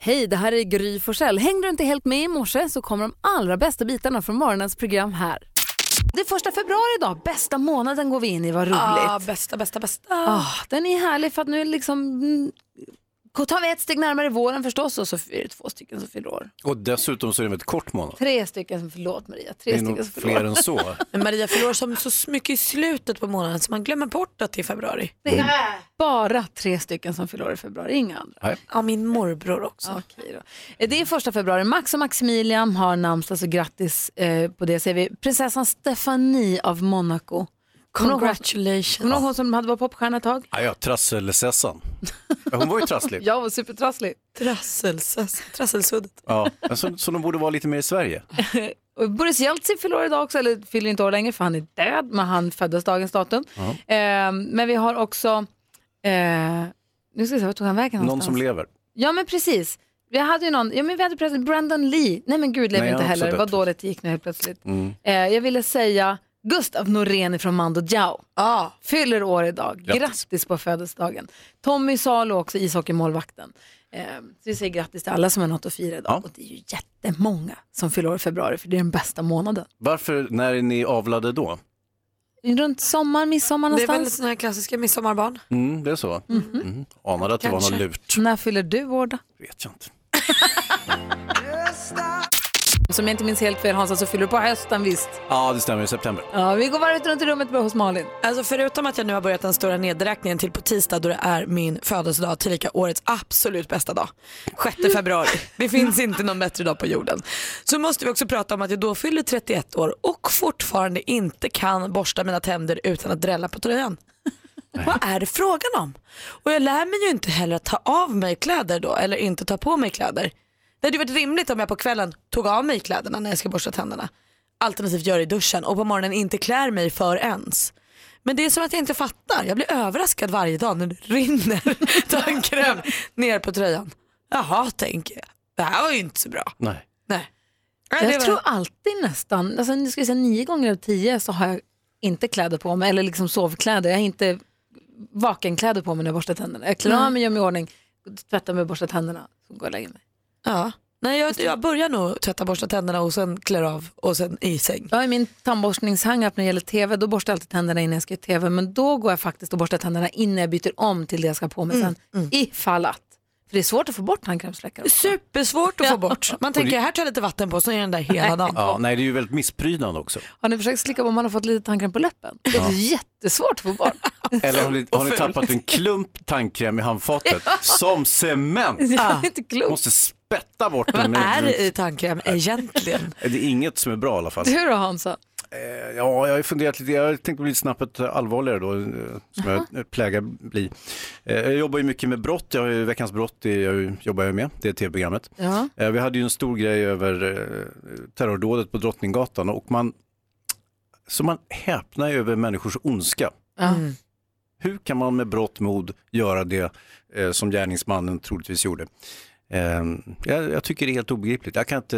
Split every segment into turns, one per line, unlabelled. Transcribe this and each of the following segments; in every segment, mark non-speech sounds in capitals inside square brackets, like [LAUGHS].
Hej, det här är Gry Forssell. Hängde du inte helt med i morse så kommer de allra bästa bitarna från morgonens program här. Det är första februari idag, bästa månaden går vi in i, vad roligt.
Ah, bästa, bästa, bästa.
Ah, den är härlig för att nu liksom mm, gå- tar vi ett steg närmare våren förstås och så är det två stycken som fyller år.
Och dessutom så är det med ett kort månad.
[LAUGHS]
Tre stycken som, förlåt Maria,
Det
tre
är
stycken
nog
som fyller
fler
år.
än så.
Men Maria förlorar som så mycket i slutet på månaden så man glömmer bort att det är februari.
Det är bara tre stycken som fyller år i februari, inga andra.
Nej.
Ja, min morbror också.
Okej då. Eh, Det är första februari. Max och Maximilian har namnsdag, så grattis eh, på det säger vi. Prinsessan Stephanie av Monaco. Kommer du ihåg- Kommer
Congratulations.
du ihåg hon som hade varit popstjärna ett tag?
Ja, ja, trasselsessan. Ja, Hon var
[LAUGHS]
ju trasslig.
Jag var supertrasslig.
Trasselsas- Trasselsuddet.
Ja. men Så, så de borde vara lite mer i Sverige.
Och Boris Jeltsin fyller år idag också, eller fyller inte år längre för han är död, men han föddes dagens datum. Eh, men vi har också, eh, nu ska vi se, vart tog han vägen
Någon som lever.
Ja men precis. Vi hade ju någon, ja men vi hade plötsligt Brandon Lee, nej men gud lever
Nej,
inte
han har också
heller,
dött.
vad dåligt det gick nu helt plötsligt.
Mm.
Eh, jag ville säga Gustav Norén från Mando Diao,
Ah,
fyller år idag, grattis,
Grattis.
på födelsedagen. Tommy Salo också, ishockeymålvakten. Eh, så vi säger grattis till alla som har något att fira idag
Ja.
och det är ju jättemånga som fyller år i februari för det är den bästa månaden.
Varför, när är ni avlade då?
Runt sommar, midsommar
det är
någonstans.
väl sådana här klassiska midsommarbarn.
Mm, det är så? Mm. Anade att det var något
Mhm. Kanske.
lurt.
När fyller du år då?
Vet jag inte.
Som jag inte minns helt fel Hansa så fyller du på hösten visst.
Ja, det stämmer. I september.
Ja, vi går varvet runt i rummet bara hos Malin.
Alltså förutom att jag nu har börjat den stora nedräkningen till på tisdag då det är min födelsedag tillika årets absolut bästa dag. 6 februari. Det finns inte någon bättre dag på jorden. Så måste vi också prata om att jag då fyller 31 år och fortfarande inte kan borsta mina tänder utan att drälla på tröjan. Vad är det frågan om? Och jag lär mig ju inte heller att ta av mig kläder då eller inte ta på mig kläder. Det hade ju varit rimligt om jag på kvällen tog av mig kläderna när jag ska borsta tänderna. Alternativt gör det i duschen och på morgonen inte klär mig för ens. Men det är som att jag inte fattar. Jag blir överraskad varje dag när det rinner [LAUGHS] tandkräm ner på tröjan. Jaha, tänker jag. Det här var ju inte så bra.
Nej.
Nej. Nej,
Jag
det var-
tror alltid nästan, alltså, nu ska jag säga nio gånger av tio så har jag inte kläder på mig eller liksom sovkläder. Jag har inte vakenkläder på mig när jag borstar tänderna. Jag klär av mig, gör mig i ordning, tvättar mig, borstar tänderna, så går jag och lägger mig.
Ja. Nej, jag, jag börjar nog tvätta, borsta tänderna och sen klär av och sen i säng.
Jag har ju min tandborstningshang-up när det gäller tv, då borstar jag alltid tänderna innan jag ska i tv, men då går jag faktiskt och borstar tänderna innan jag byter om till det jag ska ha på mig
Mm,
sen, ifall att. För det är svårt att få bort tandkrämsfläckar. också.
Supersvårt att få bort. Man tänker, här tar jag lite vatten på så är den där hela dagen.
Ja, nej, det är ju väldigt missprydnad också.
Har ni försökt slicka på om man har fått lite tandkräm på läppen? Det är jättesvårt att
[LAUGHS]
få bort. [LAUGHS]
Eller har ni, har ni tappat en klump tandkräm i handfatet? Som cement!
Det
Ah.
är inte klokt.
Måste spetta bort den.
Vad är
Med,
det i tandkräm egentligen?
det är inget som är bra i alla fall.
Du då Hansa?
Ja, jag har ju funderat lite. Jag tänkte bli snabbt allvarligare då, eh, som jag plägar bli. Eh, Jag jobbar ju mycket med brott. Jag har ju Veckans brott, det jag ju- jobbar jag med. Det är tv-programmet.
Ja.
Eh, Vi hade ju en stor grej över eh, terrordådet på Drottninggatan och man, så man häpnar ju över människors ondska.
Ja.
Mm.
Hur kan man med brott mod göra det eh, som gärningsmannen troligtvis gjorde? Eh, jag, jag tycker det är helt obegripligt. Jag kan inte,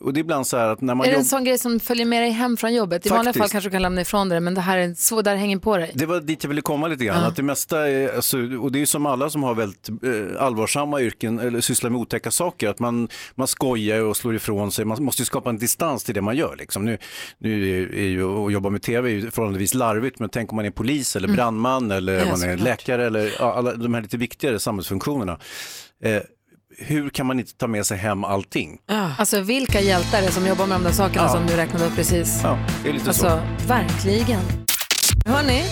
och det är ibland så här att när man
Är det
jobbar...
en sån grej som följer med dig hem från jobbet? I vanliga
Faktiskt.
fall kanske du kan lämna ifrån dig det, men det här är så, där hänger på dig.
Det var dit jag ville komma lite grann. Att det mesta är, alltså, och det är ju som alla som har väldigt eh, allvarsamma yrken eller sysslar med otäcka saker, att man, man skojar och slår ifrån sig. Man måste ju skapa en distans till det man gör. Liksom. Nu, nu är är ju att jobba med tv är ju förhållandevis larvigt, men tänk om man är polis
Mm.
eller brandman eller om man är läkare eller ja, alla de här lite viktigare samhällsfunktionerna. Eh, hur kan man inte ta med sig hem allting?
Alltså vilka hjältar är det som jobbar med de där sakerna
Ja.
som du räknade upp precis?
Ja, det är lite så.
Alltså, verkligen. Hörni,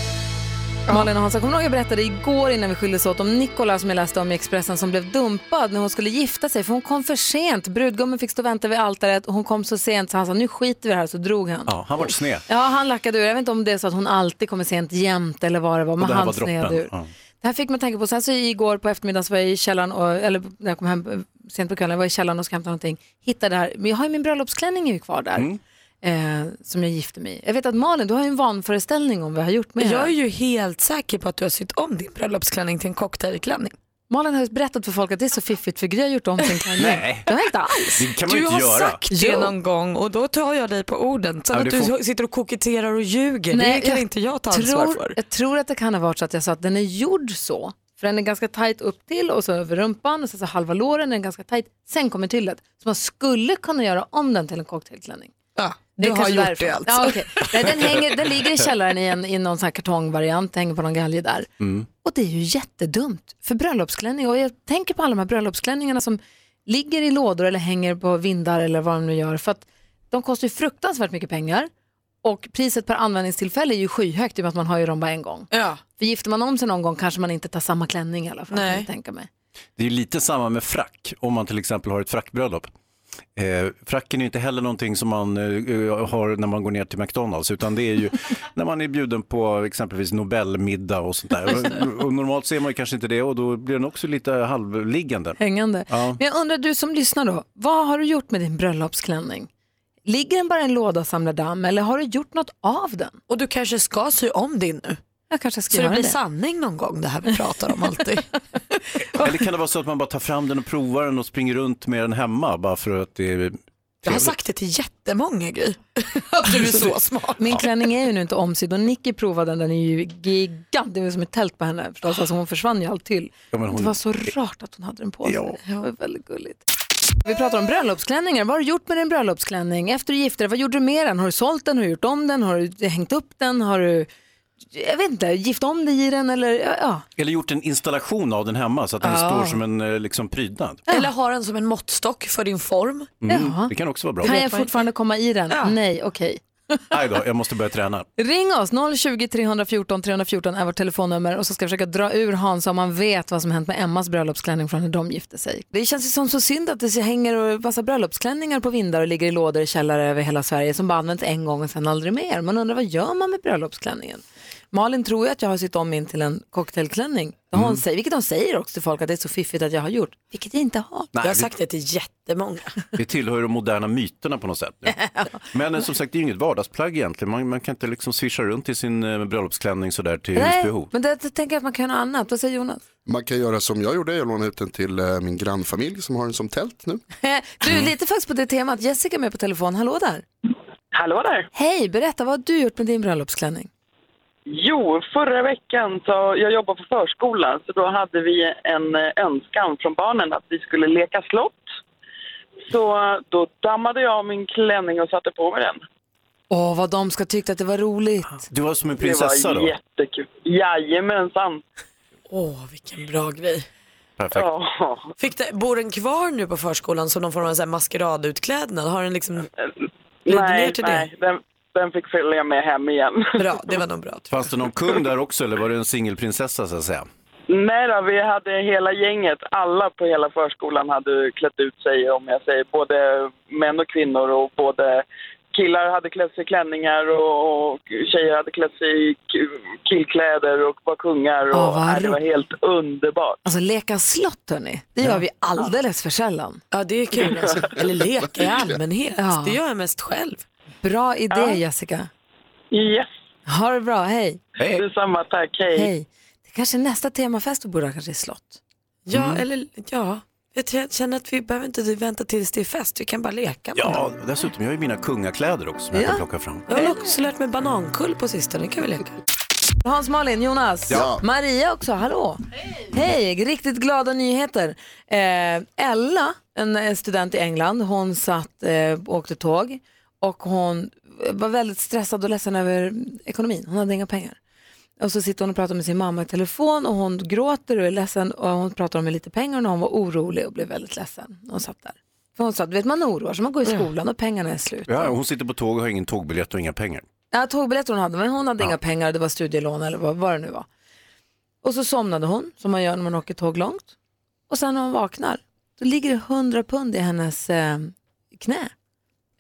Malin och Hansa, kommer ni ihåg jag berättade igår innan vi skildes åt om Nicola som jag läste om i Expressen som blev dumpad när hon skulle gifta sig för hon kom för sent. Brudgummen fick stå och vänta vid altaret och hon kom så sent så han sa nu skiter vi i det här så drog han.
Ja, han vart sned.
Ja, han lackade ur. Jag vet inte om det är så att hon alltid kommer sent jämt eller vad det var, men
det här
han
var droppen.
sned ur.
Ja.
Det här fick man tanke på. Sen så igår på eftermiddagen så var jag i källaren, och, eller när jag kom hem eh, sent på kvällen, jag var i källaren och ska hämta någonting. Hittade det här, men jag har ju min bröllopsklänning är ju kvar där.
Mm.
Eh, som jag gifte mig i. Jag vet att Malin, du har ju en vanföreställning om vad jag har gjort med
Jag är
det.
ju helt säker på att du har sytt om din bröllopsklänning till en cocktailklänning.
Malin har ju berättat för folk att det är så fiffigt för Gry har gjort om sin klänning.
Nej.
Det har jag inte alls.
Det kan man ju
Du
inte
har
göra.
sagt det
Jo.
någon gång och då tar jag dig på orden. Sen
Ja,
att
det
du
får-
sitter och koketterar och ljuger, det kan inte jag ta ansvar
tror,
för.
Jag tror att det kan ha varit så att jag sa att den är gjord så För den är ganska tajt upp till och så över rumpan och sen så halva låren den är ganska tajt. Sen kommer tyllet. Så man skulle kunna göra om den till en cocktailklänning.
Ja,
Det
du
är
har
kanske
gjort
därför.
det alltså.
Ja, okej. Nej, den, hänger, den ligger i källaren i, en, i någon sån här kartongvariant, hänger på någon galge där.
Mm.
Och det är ju jättedumt för bröllopsklänning. Och jag tänker på alla de här bröllopsklänningarna som ligger i lådor eller hänger på vindar eller vad de nu gör. För att de kostar ju fruktansvärt mycket pengar. Och priset per användningstillfälle är ju skyhögt i och med att man har ju dem bara en gång.
Ja.
För gifter man om sig någon gång kanske man inte tar samma klänning i alla fall.
Nej.
kan jag Tänka mig.
Det är ju lite samma med frack, om man till exempel har ett frackbröllop. Eh, fracken är ju inte heller någonting som man eh, har när man går ner till McDonalds, utan det är ju när man är bjuden på exempelvis Nobelmiddag och sånt där. Och, och normalt ser man ju kanske inte det och då blir den också lite halvliggande.
Hängande.
Ja.
Men jag undrar du som lyssnar då, vad har du gjort med din bröllopsklänning? Ligger den bara i en låda och samlar damm eller har du gjort något av den?
Och du kanske ska sy om din nu.
Jag kanske ska
Så det
göra
blir
det.
sanning någon gång det här vi pratar om alltid.
Eller kan det vara så att man bara tar fram den och provar den och springer runt med den hemma bara för att det är
Jag har sagt det till jättemånga Gry. Att du är [LAUGHS] så smart.
Min klänning är ju nu inte omsydd och Nicky provade den, den är ju gigant, det var som ett tält på henne förstås, alltså hon försvann ju allt till.
Ja, men hon-
Det var så rart att hon hade den på sig,
Ja.
det var väldigt gulligt. Vi pratar om bröllopsklänningar, vad har du gjort med din bröllopsklänning? Efter du gifte dig, vad gjorde du med den? Har du sålt den, har du gjort om den, har du hängt upp den, har du, jag vet inte, gift om dig i den eller ja. ja.
Eller gjort en installation av den hemma så att den står som en eh, liksom, prydnad.
Eller ha den som en måttstock för din form.
Mm,
Jaha.
det kan också vara bra.
Kan jag fortfarande komma i den?
Ja.
Nej, okej.
Nej då, jag måste börja träna.
Ring oss, 020 314 314 är vårt telefonnummer och så ska jag försöka dra ur Hans om han vet vad som hänt med Emmas bröllopsklänning från när de gifte sig. Det känns ju som så synd att det så hänger och massa bröllopsklänningar på vindar och ligger i lådor i källare över hela Sverige som bara används en gång och sen aldrig mer. Man undrar vad gör man med bröllopsklänningen? Malin tror ju att jag har sytt om min till en cocktailklänning, Det har hon säger, vilket hon säger också till folk att det är så fiffigt att jag har gjort, vilket jag inte har.
jag har sagt det till jättemånga.
Det tillhör de moderna myterna på
[LAUGHS]
något sätt. Nu. Men eh, som sagt, det är ju inget vardagsplagg egentligen. Man, man kan inte liksom swisha runt i sin eh, bröllopsklänning sådär till
Nej,
husbehov.
men det, det tänker jag att man kan göra något annat. Vad säger Jonas?
Man kan göra som jag gjorde, jag lånade ut den till eh, min grannfamilj som har den som tält nu.
Du, lite faktiskt på Eh, det temat. Jessica är med på telefon. Hallå där.
Hallå där!
Hej, berätta vad har du gjort med din bröllopsklänning?
Jo, förra veckan så, jag jobbar på förskola, så då hade vi en eh, önskan från barnen att vi skulle leka slott. Så då dammade jag av min klänning och satte på mig den.
Åh, vad de ska tyckt att det var roligt.
Du var som en prinsessa
det var
då?
jättekul. Jajamensan!
Åh, vilken bra grej.
Perfekt.
Ja,
Fick det, bor den kvar nu på förskolan som någon form av så här maskeradutklädnad? Har den liksom, Glider ner
nej,
till
nej den, den fick följa med hem igen. [LAUGHS]
bra, det var nog bra. tror
Fanns det någon kung där också eller var det en singelprinsessa så att säga?
nej då, vi hade hela gänget, alla på hela förskolan hade klätt ut sig, om jag säger, både män och kvinnor och både killar hade klätt sig i klänningar och, och tjejer hade klätt sig i k- killkläder och var kungar. Och,
Åh, vad
nej, det var helt underbart.
Alltså leka slott hörni, det gör vi alldeles för sällan.
jag. Ja, det är kul alltså. Eller leka i allmänhet.
Ja.
Det gör jag mest själv.
Bra idé Jessica.
Yes,
Ha det bra, hej.
Hej!
detsamma. Tack. Hej.
Eh, Hej. Det kanske är nästa temafest vi borde ha kanske är slott.
Ja, eller ja. Jag t- jag känner att vi behöver inte vänta tills det är fest. Vi kan bara leka. med
Ja, dessutom, jag har ju mina kungakläder också som jag kan plocka fram.
den. Jag har också lärt mig banankull på sistone. kan vi leka.
Hans, Malin, Jonas,
Ja.
Maria också, hallå. Hej. riktigt glada nyheter. Eh, Ella, en en student i England, hon satt, eh, åkte tåg och hon var väldigt stressad och ledsen över ekonomin. Hon hade inga pengar. Och så sitter hon och pratar med sin mamma i telefon och hon gråter och är ledsen och hon pratar om lite pengar och hon var orolig och blev väldigt ledsen. Hon satt där. För hon sa, du vet man oroar sig, man går i skolan och pengarna är slut.
Ja, hon sitter på tåg och har ingen tågbiljett och inga pengar.
Ja, tågbiljetter hon hade, men hon hade inga pengar, det var studielån eller vad, vad det nu var. Och så somnade hon, som man gör när man åker tåg långt. Och sen när hon vaknar, då ligger det 100 pund i hennes eh, knä.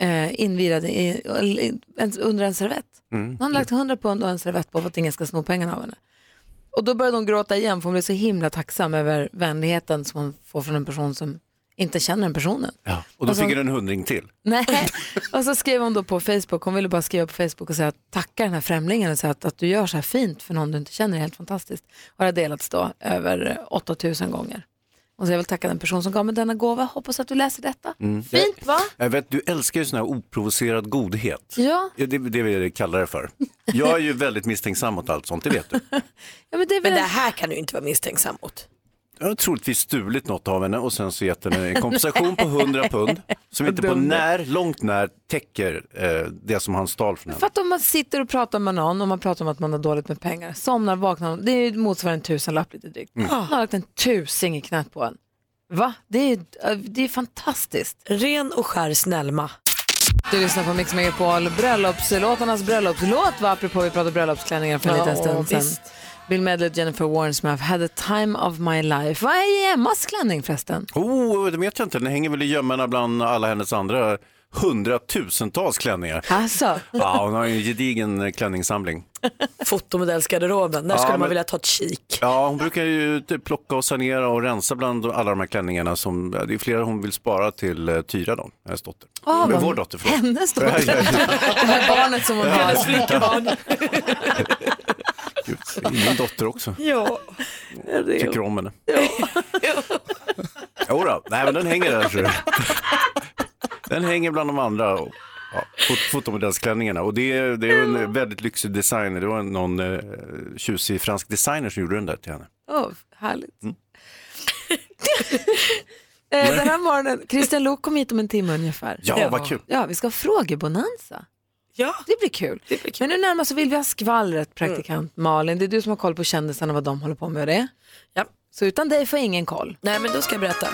Eh, invirade i, i- en- under en servett. Hon har lagt 100 pund och en servett på för att ingen ska sno pengarna av henne. Och då började hon gråta igen för hon blev så himla tacksam över vänligheten som hon får från en person som inte känner den personen.
Ja. Och då
Och så-
fick hon en hundring till.
Nej, [LAUGHS] och så skrev hon då på Facebook, hon ville bara skriva på Facebook och säga att tacka den här främlingen och säga att, att du gör så här fint för någon du inte känner är helt fantastiskt. Och det har delats då över eh, 8000 gånger. Och Och så jag vill tacka den person som gav mig denna gåva. Hoppas att du läser detta. Fint va?
Jag vet, du älskar ju sån här oprovocerad godhet.
Ja.
Det det är det vi kallar det för. Jag är ju väldigt misstänksam mot allt sånt, det vet du.
ja men det är väl
Men det här kan du inte vara misstänksam mot.
Jag har troligtvis stulit något av henne och sen så gett henne en kompensation på 100 pund som inte på när, långt när täcker eh, det som han stal från
För
henne.
att om man sitter och pratar med någon och man pratar om att man har dåligt med pengar, somnar, vaknar, det är ju motsvarande en tusenlapp lite drygt. Man har lagt en tusing i knät på en. Va? Det är, ju- eh, det är fantastiskt.
Ren och skär snällma.
Du lyssnar på Mix Megapol, bröllopslåtarnas bröllopslåt var apropå vi pratade bröllopsklänningar för en
Ja,
liten stund sedan.
visst.
Bill Medley och Jennifer Warnes med I've had the time of my life. Vad är Emmas klänning förresten?
Oh, det vet jag inte. Den hänger väl i gömmorna bland alla hennes andra hundratusentals klänningar.
Alltså,
Ja, hon har ju en gedigen eh, klänningssamling.
Fotomodellsgarderoben, där skulle man vilja ta ett kik.
Ja, hon brukar ju typ plocka och sanera och rensa bland alla de här klänningarna. Som, det är flera hon vill spara till eh, Tyra, då, hennes dotter.
Ah,
Men
vad-
vår dotter, förlåt.
hennes dotter.
[LAUGHS]
Det här barnet som hon har.
flickebarn. Gud, min dotter också.
Ja,
Tycker om henne. Jodå, nej men den hänger där ser du. Den hänger bland de andra och, ja, fot- fotomodellsklänningarna. Och det, är- det är ju en väldigt lyxig designer. Det var en- någon eh, tjusig fransk designer som gjorde den där till henne.
Åh, härligt.
Mm.
[LAUGHS] eh, den här morgonen, Christian Lok kom hit om en timme ungefär.
Ja, vad kul.
Ja, vi ska ha frågebonanza.
ja.
Det blir kul.
Det blir kul. Mm.
Men nu närmast så vill vi ha skvallret, praktikant Malin. Det är du som har koll på kändisarna, vad de håller på med och det.
ja.
Så utan dig får jag ingen koll.
Nej men då ska jag berätta.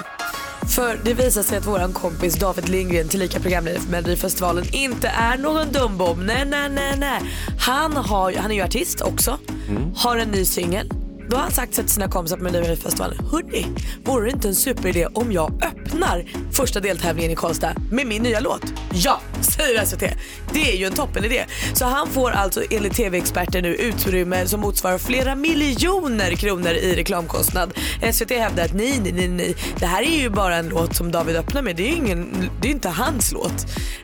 För det visar sig att våran kompis David Lindgren, tillika programledare för Melodifestivalen, inte är någon dumbob. Nej, nej, nej, nej. Han, har, han är ju artist också, har en ny singel. Då har han sagt så till sina kompisar på Melodifestivalen, hörni, vore det inte en superidé om jag öppnar första deltävlingen i Karlstad med min nya låt? Ja, säger SVT. Det är ju en toppenidé. Så han får alltså enligt TV-experter nu utrymme som motsvarar flera miljoner kronor i reklamkostnad. SVT hävdar att nej, nej, nej, nej. Det här är ju bara en låt som David öppnar med. Det är ju ingen, det är inte hans låt.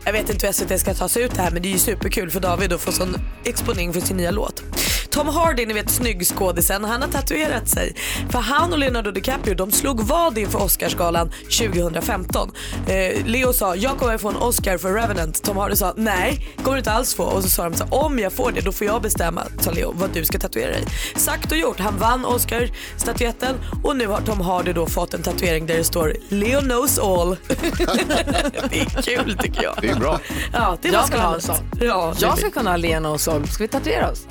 Jag vet inte hur SVT ska ta sig ut det här men det är ju superkul för David att få sån exponering för sin nya låt. Tom Hardy, ni vet snyggskådisen, han har tatuerat sig. För han och Leonardo DiCaprio de slog vad inför Oscarsgalan 2015. Eh, Leo sa jag kommer få en Oscar för Revenant. Tom Hardy sa nej, kommer du inte alls få. Och så sa de så här, om jag får det då får jag bestämma, sa Leo, vad du ska tatuera dig. Sagt och gjort, han vann Oscarsstatyetten och nu har Tom Hardy då fått en tatuering där det står Leo knows all. [LAUGHS] det är kul tycker jag.
Det är bra.
Ja, det var
Jag vill ha en
skvallret.
sån.
Ja,
Jag ska kunna ha Lena och Sol. Ska vi tatuera oss?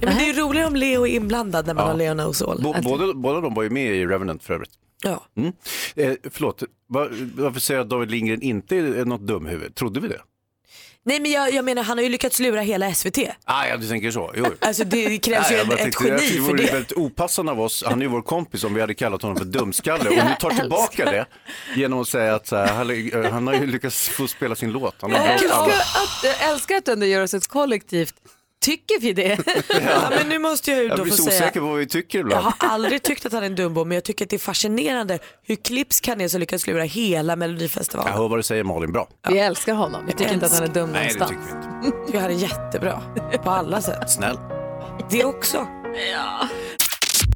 Ja, men det är ju roligare om Leo är inblandad när man
Ja.
har Leo knows all.
Bå- Båda, båda de var ju med i Revenant för övrigt.
Ja.
Mm. Eh, förlåt, Va, varför säger jag att David Lindgren inte är något dumhuvud? Trodde vi det?
Nej men jag, jag menar han har ju lyckats lura hela SVT.
Ah, ja, du tänker så. Jo.
Alltså [LAUGHS] det krävs ju
Nej, jag
en,
bara
ett
tänkte, jag
geni
tycker
för
Det vore
det.
väldigt opassande av oss, han är ju vår kompis, om vi hade kallat honom för dumskalle och nu tar tillbaka det genom att säga att så här, han, eh, han har ju lyckats få spela sin låt. Han har
Jag
blåst alla.
älskar att, jag älskar att under Eurosets kollektivt tycker
[LAUGHS]
vi det.
Ja, men nu måste jag ju
Jag
då
blir
få
så
säga.
osäker på vad vi tycker
Jag
ibland.
har aldrig tyckt att han är en dumbo men jag tycker att det är fascinerande hur klipsk han är som lyckas lura hela
Jag
melodifestivalen.
hör vad du säger Malin, bra.
Vi älskar honom. Vi tycker inte att han är dum
Nej, det
någonstans.
tycker vi inte.
Jag tycker han är jättebra på alla sätt.
Snäll.
Det också.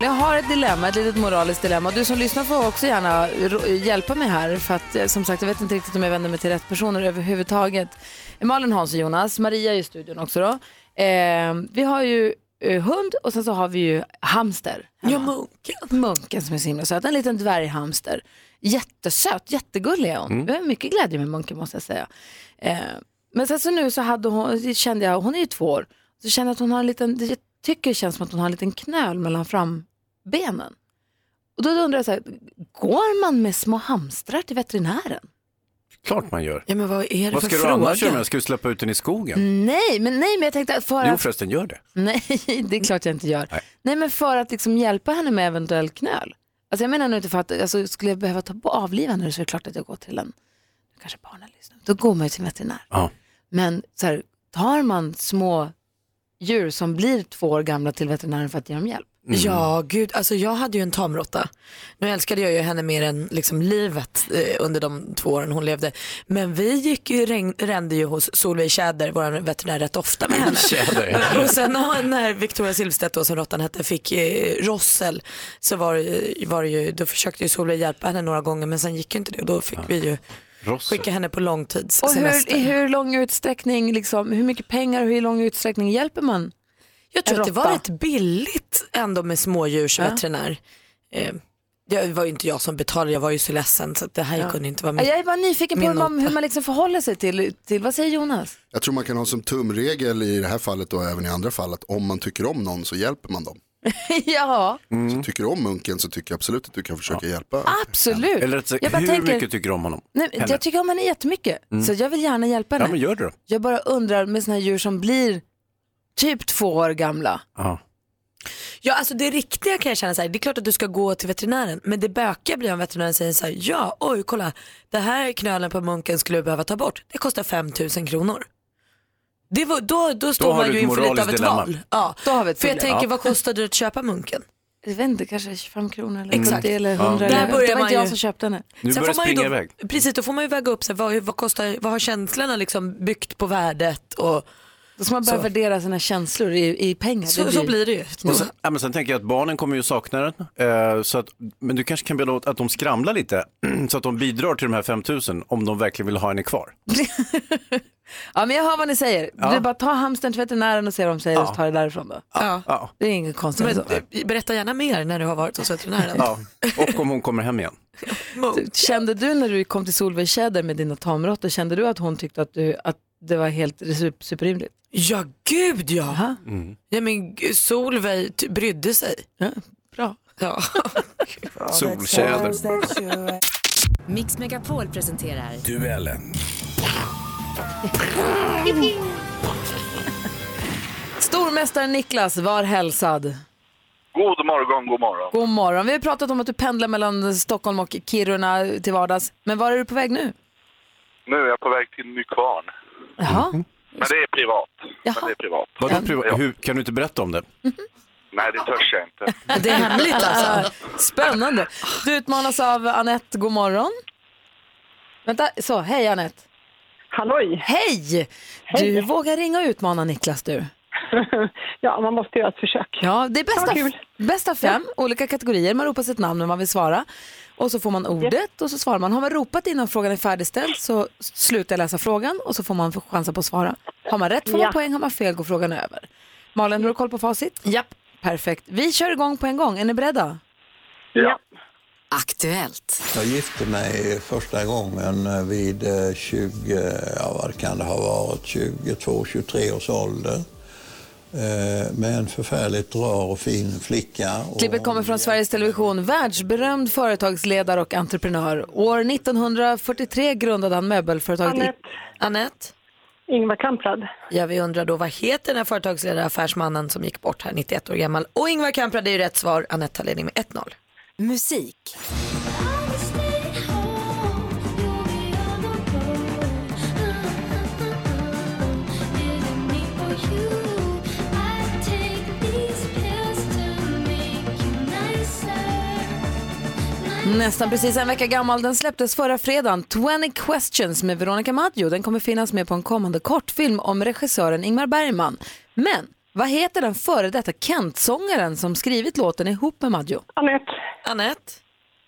Jag har ett dilemma, ett litet moraliskt dilemma. Du som lyssnar får också gärna ro- hjälpa mig här. För att eh, som sagt, jag vet inte riktigt om jag vänder mig till rätt personer överhuvudtaget. Malin, Hans och Jonas, Maria är i studion också då. Eh, vi har ju eh, hund och sen så har vi ju hamster.
Ja munken.
Munken som är så himla söt, en liten dvärghamster. Jättesöt, jättegullig är hon. Det är mycket glädje med Munken måste jag säga. Eh, men sen så nu så hade hon, kände jag, hon är ju två år, så kände jag att hon har en liten, det- jag tycker det känns som att hon har en liten knöl mellan frambenen. Och då undrar jag så här, går man med små hamstrar till veterinären?
Klart man gör.
Ja men vad är det
Vad
för
ska du annars göra?
fråga? Mm.
med? Ska du släppa ut den i skogen?
Nej, men nej, men jag tänkte att för
Jo
att,
förresten, gör det.
[LAUGHS] nej, det är klart jag inte gör. Nej, men för att liksom hjälpa henne med eventuell knöl. Alltså jag menar nu inte för att, alltså, skulle jag behöva ta på avliva henne så är det klart att jag går till en, kanske barnen lyssnar, då går man ju till en veterinär.
Ja.
Men så här, tar man små djur som blir två år gamla till veterinären för att ge dem hjälp?
Ja, gud. Alltså, jag hade ju en tamråtta. Nu älskade jag ju henne mer än liksom, livet eh, under de två åren hon levde. Men vi gick ju, regn, rände ju hos Solveig Tjäder, vår veterinär, rätt ofta med henne.
Tjäder.
Och sen när- när Victoria Silvstedt, då, som råttan hette, fick eh, rossel så var, det- var det ju, då försökte ju Solveig hjälpa henne några gånger men sen gick ju inte det och då fick vi ju
Rossel.
skicka henne på
Och hur,
långtidssemester.
i hur lång utsträckning, liksom, hur mycket pengar och hur lång utsträckning hjälper man?
Jag tror
En
att det var
råtta.
rätt billigt ändå med smådjursveterinär. Eh, det var ju inte jag som betalade, jag var ju så ledsen så att det här kunde inte vara
Ja,
med.
Jag är bara nyfiken på
Min
hur man,
nota.
hur man liksom förhåller sig till, till, vad säger Jonas?
Jag tror man kan ha som tumregel i det här fallet och även i andra fall att om man tycker om någon så hjälper man dem.
[LAUGHS] ja,
Mm.
Så tycker du om munken så tycker jag absolut att du kan försöka hjälpa.
Ah.
absolut.
Eller rätt sagt,
jag bara
hur
tänker,
mycket tycker du om honom?
nej,
henne?
Jag tycker om henne jättemycket,
Mm.
så jag vill gärna hjälpa
Ja,
henne.
men gör det då.
Jag bara undrar med såna här djur som blir typ två år gamla.
Ja.
Ja, alltså det riktiga kan jag känna så här, det är klart att du ska gå till veterinären, men det bökiga blir om veterinären säger så här, ja, oj, kolla, det här knölen på munken skulle vi behöva ta bort, det kostar 5 000 kronor. Det var, då, då står
har
man
du
ju
ett
inför lite
moraliskt
av ett
dilemma.
val. Ja.
Då har vi ett
För jag
problem.
tänker, vad kostar det att köpa munken?
Jag vet inte, kanske 25 kronor eller
Exakt.
70 eller 100.
Där
Eller,
börjar
det var
man
inte jag
ju-
som köpte henne.
Nu
Sen
börjar det
får man ju
springa
då,
iväg.
Precis, då får man ju väga upp, så här, vad, vad, kostar, vad har känslorna liksom byggt på värdet? Och,
Då ska man börja
Så.
värdera sina känslor i, i pengar.
så,
det
så blir det ju.
Och sen, ja, men sen tänker jag att barnen kommer ju sakna den. Eh, så att, men du kanske kan be åt att de skramlar lite [CLEARS THROAT] så att de bidrar till de här 5000 om de verkligen vill ha henne kvar.
Ja, men jag hör vad ni säger. Du bara ta hamstern till veterinären och se vad de säger och så ta det därifrån då.
Ja.
Ja,
Det är inget konstigt.
Men,
så.
eh, berätta gärna mer när du har varit hos veterinären.
ja. Och om hon kommer hem igen.
Typ.
Mo.
Alltså. Kände du när du kom till Solveig Tjäder med dina tamråttor, kände du att hon tyckte att, du, att det var helt super- superrimligt?
Ja, gud ja. ja men, g- Solveig ty- brydde sig.
Ja, bra.
Ja.
Soltjäder.
Mix Megapol presenterar
Stormästare Niklas, var hälsad.
God morgon, god morgon.
God morgon. Vi har pratat om att du pendlar mellan Stockholm och Kiruna till vardags. Men var är du på väg nu?
Nu är jag på väg till Nykvarn.
Jaha.
Men det är privat.
Jaha.
Men det är privat.
Vadå priva- hur, kan du inte berätta om det?
Nej, det törs jag inte.
Det är hemligt alltså.
Spännande. Du utmanas av Anette. God morgon. Vänta, så. Hej Anette.
Halloj!
Hej! Du vågar ringa och utmana Niklas du.
[LAUGHS] ja, man måste göra ett försök.
Ja, det är bästa,
Ja, kul.
bästa fem olika kategorier. Man ropar sitt namn när man vill svara. Och så får man ordet och så svarar man. Har man ropat innan frågan är färdigställd så slutar jag läsa frågan och så får man chansen på att svara. Har man rätt får man
Ja.
poäng, har man fel går frågan över. Malin, har du koll på facit?
Japp.
Perfekt. Vi kör igång på en gång. Är ni beredda?
Ja.
Aktuellt.
Jag gifte mig första gången vid eh, 20, ja vad kan det ha varit, 22-23 års ålder. Eh, Med en förfärligt rar och fin flicka. Och
Klippet kommer från Sveriges Television. Världsberömd företagsledare och entreprenör. År 1943 grundade han möbelföretaget... I-
Anette
Anette,
Ingvar Kamprad.
ja, vi undrar då vad heter den här företagsledare affärsmannen som gick bort här 91 år gammal? Och Ingvar Kamprad är ju rätt svar. Anette tar ledning med 1-0.
Musik.
Nästan precis en vecka gammal. Den släpptes förra fredagen. 20 questions med Veronica Maggio. Den kommer finnas med på en kommande kortfilm om regissören Ingmar Bergman. Men vad heter den före detta Kent-sångaren som skrivit låten ihop med Maggio?
Anette
Anette,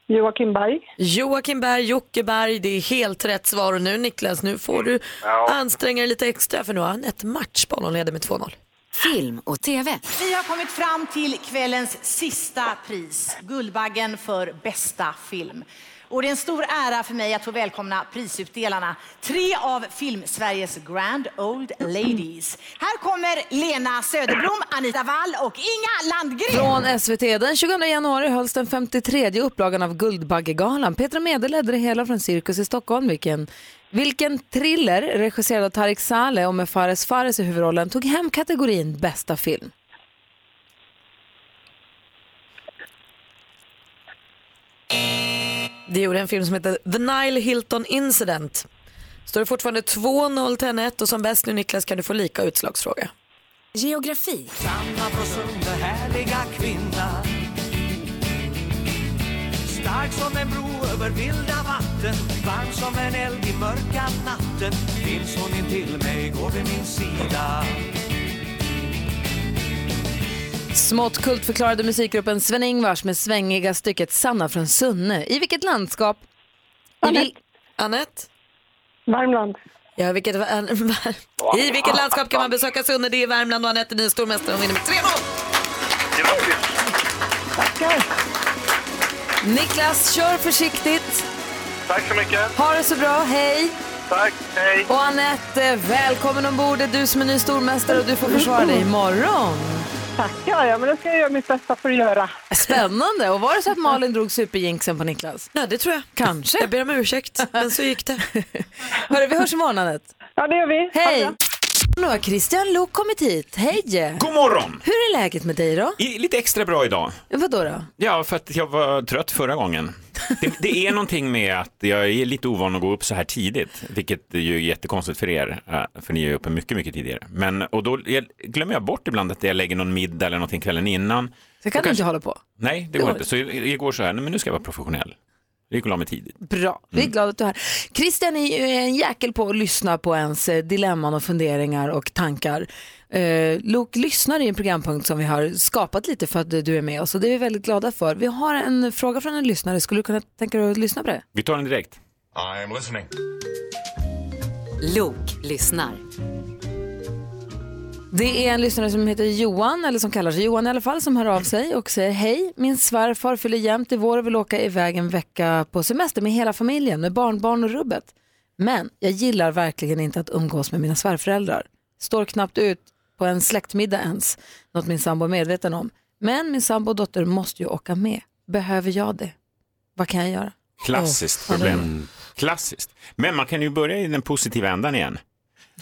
Joakim Berg.
Joakim Berg, Jocke Berg, det är helt rätt svar. Och nu Niklas, nu får du anstränga dig lite extra för nu har Anette matchboll. Hon leder med 2-0.
Film och TV.
Vi har kommit fram till kvällens sista pris, Guldbaggen för bästa film. Och det är en stor ära för mig att få välkomna prisutdelarna, tre av Filmsveriges Grand Old Ladies. Här kommer Lena Söderblom, Anita Wall och Inga Landgren.
Från SVT. Den 22 januari hölls den 53 upplagan av Guldbaggegalan. Petra Mede ledde det hela från Cirkus i Stockholm. Vilken, vilken thriller, regisserad av Tarik Saleh och med Fares Fares i huvudrollen, tog hem kategorin bästa film?
Det gjorde en film som heter The Nile Hilton Incident. Står det fortfarande 2-0 till Anette och som bäst nu Niklas kan du få lika utslagsfråga.
Geografi.
Sanna Frosunda, härliga kvinna Stark som en bro över vilda vatten Varm som en eld i mörka natten Finns hon intill mig, går vid min sida
Smått kultförklarade musikgruppen Sven-Ingvars med svängiga stycket Sanna från Sunne. I vilket landskap?
Annette.
Annette?
Värmland.
Ja, vilket,
[LAUGHS]
I vilket landskap kan man besöka Sunne? Det är Värmland och Anette Ny, stormästare, hon vinner med 3-0.
Tackar.
Niklas, kör försiktigt.
Tack så mycket.
Ha det så bra, hej!
Tack, hej.
Och Anette, välkommen ombord. Det är du som är ny stormästare och du får försvara dig imorgon.
Tackar. Ja, men det ska jag göra mitt bästa för att göra.
Spännande. Och var det så att Malin drog superjinxen på Niklas?
Ja, det tror jag.
Kanske.
Jag ber om ursäkt, men så gick det.
[LAUGHS] Hörru, vi hörs imorgon, Anette.
Ja, det gör vi.
Hej! Nu har Christian Lok kommit hit. Hej!
God morgon!
Hur är läget med dig då?
I- Lite extra bra idag.
Vadå då?
Ja, för att jag var trött förra gången. Det, det är någonting med att jag är lite ovan att gå upp så här tidigt, vilket är ju jättekonstigt för er, eh, för ni är ju uppe mycket, mycket tidigare. Men, och då jag, glömmer jag bort ibland att jag lägger någon middag eller någonting kvällen innan.
Så kan du inte hålla på.
Nej, det går inte. Så jag, jag går så här, nej, men nu ska jag vara professionell. Jag gick och la mig tidigt.
Bra, vi är glada att du är här. Christian är ju en jäkel på att lyssna på ens eh, dilemman och funderingar och tankar. Eh, Lok lyssnar är en programpunkt som vi har skapat lite för att du är med oss och det är vi väldigt glada för. Vi har en fråga från en lyssnare, skulle du kunna tänka dig att lyssna på det?
Vi tar den direkt. I am listening.
Lok lyssnar.
Det är en lyssnare som heter Johan, eller som kallar sig Johan i alla fall, som hör av sig och säger hej, min svärfar fyller jämt i vår och vill åka iväg en vecka på semester med hela familjen, med barnbarn och rubbet. Men jag gillar verkligen inte att umgås med mina svärföräldrar. Står knappt ut på en släktmiddag ens, något min sambo är medveten om. Men min sambo och dotter måste ju åka med. Behöver jag det? Vad kan jag göra?
Klassiskt
Åh,
problem.
vad roligt.
Klassiskt. Men man kan ju börja i den positiva ändan igen.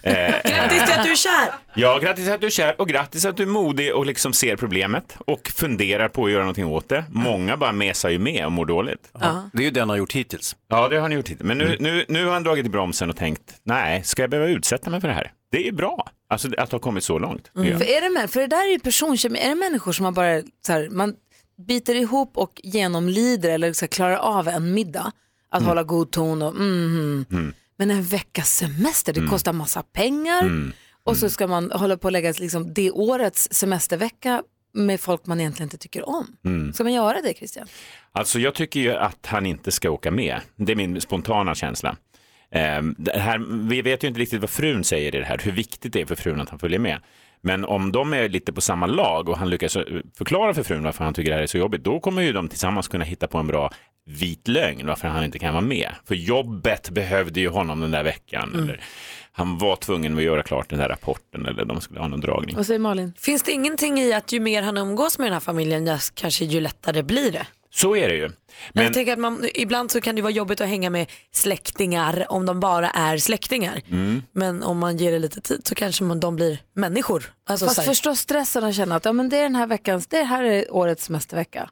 Eh,
Grattis till att du är kär!
Ja, grattis att du är kär och grattis att du är modig och liksom ser problemet och funderar på att göra någonting åt det. Många bara mesar ju med och mår dåligt.
Ja.
Det är ju det han har gjort hittills. Ja, det har han gjort hittills. Men nu, nu, nu har han dragit i bromsen och tänkt, nej, ska jag behöva utsätta mig för det här? Det är bra, alltså att ha kommit så lånt. tycker jag.
För, är det, män- för det där är ju personkemi, är det människor som man bara så här, man biter ihop och genomlider eller så här, klarar av en middag, att hålla god ton och mhm.
Mm.
Men en veckas semester, det kostar massa pengar
Mm.
och så ska man hålla på och lägga liksom, det årets semestervecka med folk man egentligen inte tycker om.
Mm.
Ska man göra det Christian?
Alltså jag tycker ju att han inte ska åka med. Det är min spontana känsla. Ehm, Det här, vi vet ju inte riktigt vad frun säger i det här, hur viktigt det är för frun att han följer med. Men om de är lite på samma lag och han lyckas eh, förklara för frun varför han tycker det här är så jobbigt, då kommer ju de tillsammans kunna hitta på en bra vit lögn varför han inte kan vara med. För jobbet behövde ju honom den där veckan. Eller han var tvungen att göra klart den där rapporten eller de skulle ha någon dragning.
Mm.
Vad säger Malin?
Finns det ingenting i att ju mer han umgås med den här familjen, jas- kanske ju lättare blir det?
Så är det ju.
Men... Jag tänker att man, ibland så kan det vara jobbigt att hänga med släktingar om de bara är släktingar.
Mm.
Men om man ger det lite tid så kanske man, de blir människor. Alltså, så
Fast
här-
förstå stressen och känna att ja, men det är den här veckans, det här är årets semestervecka.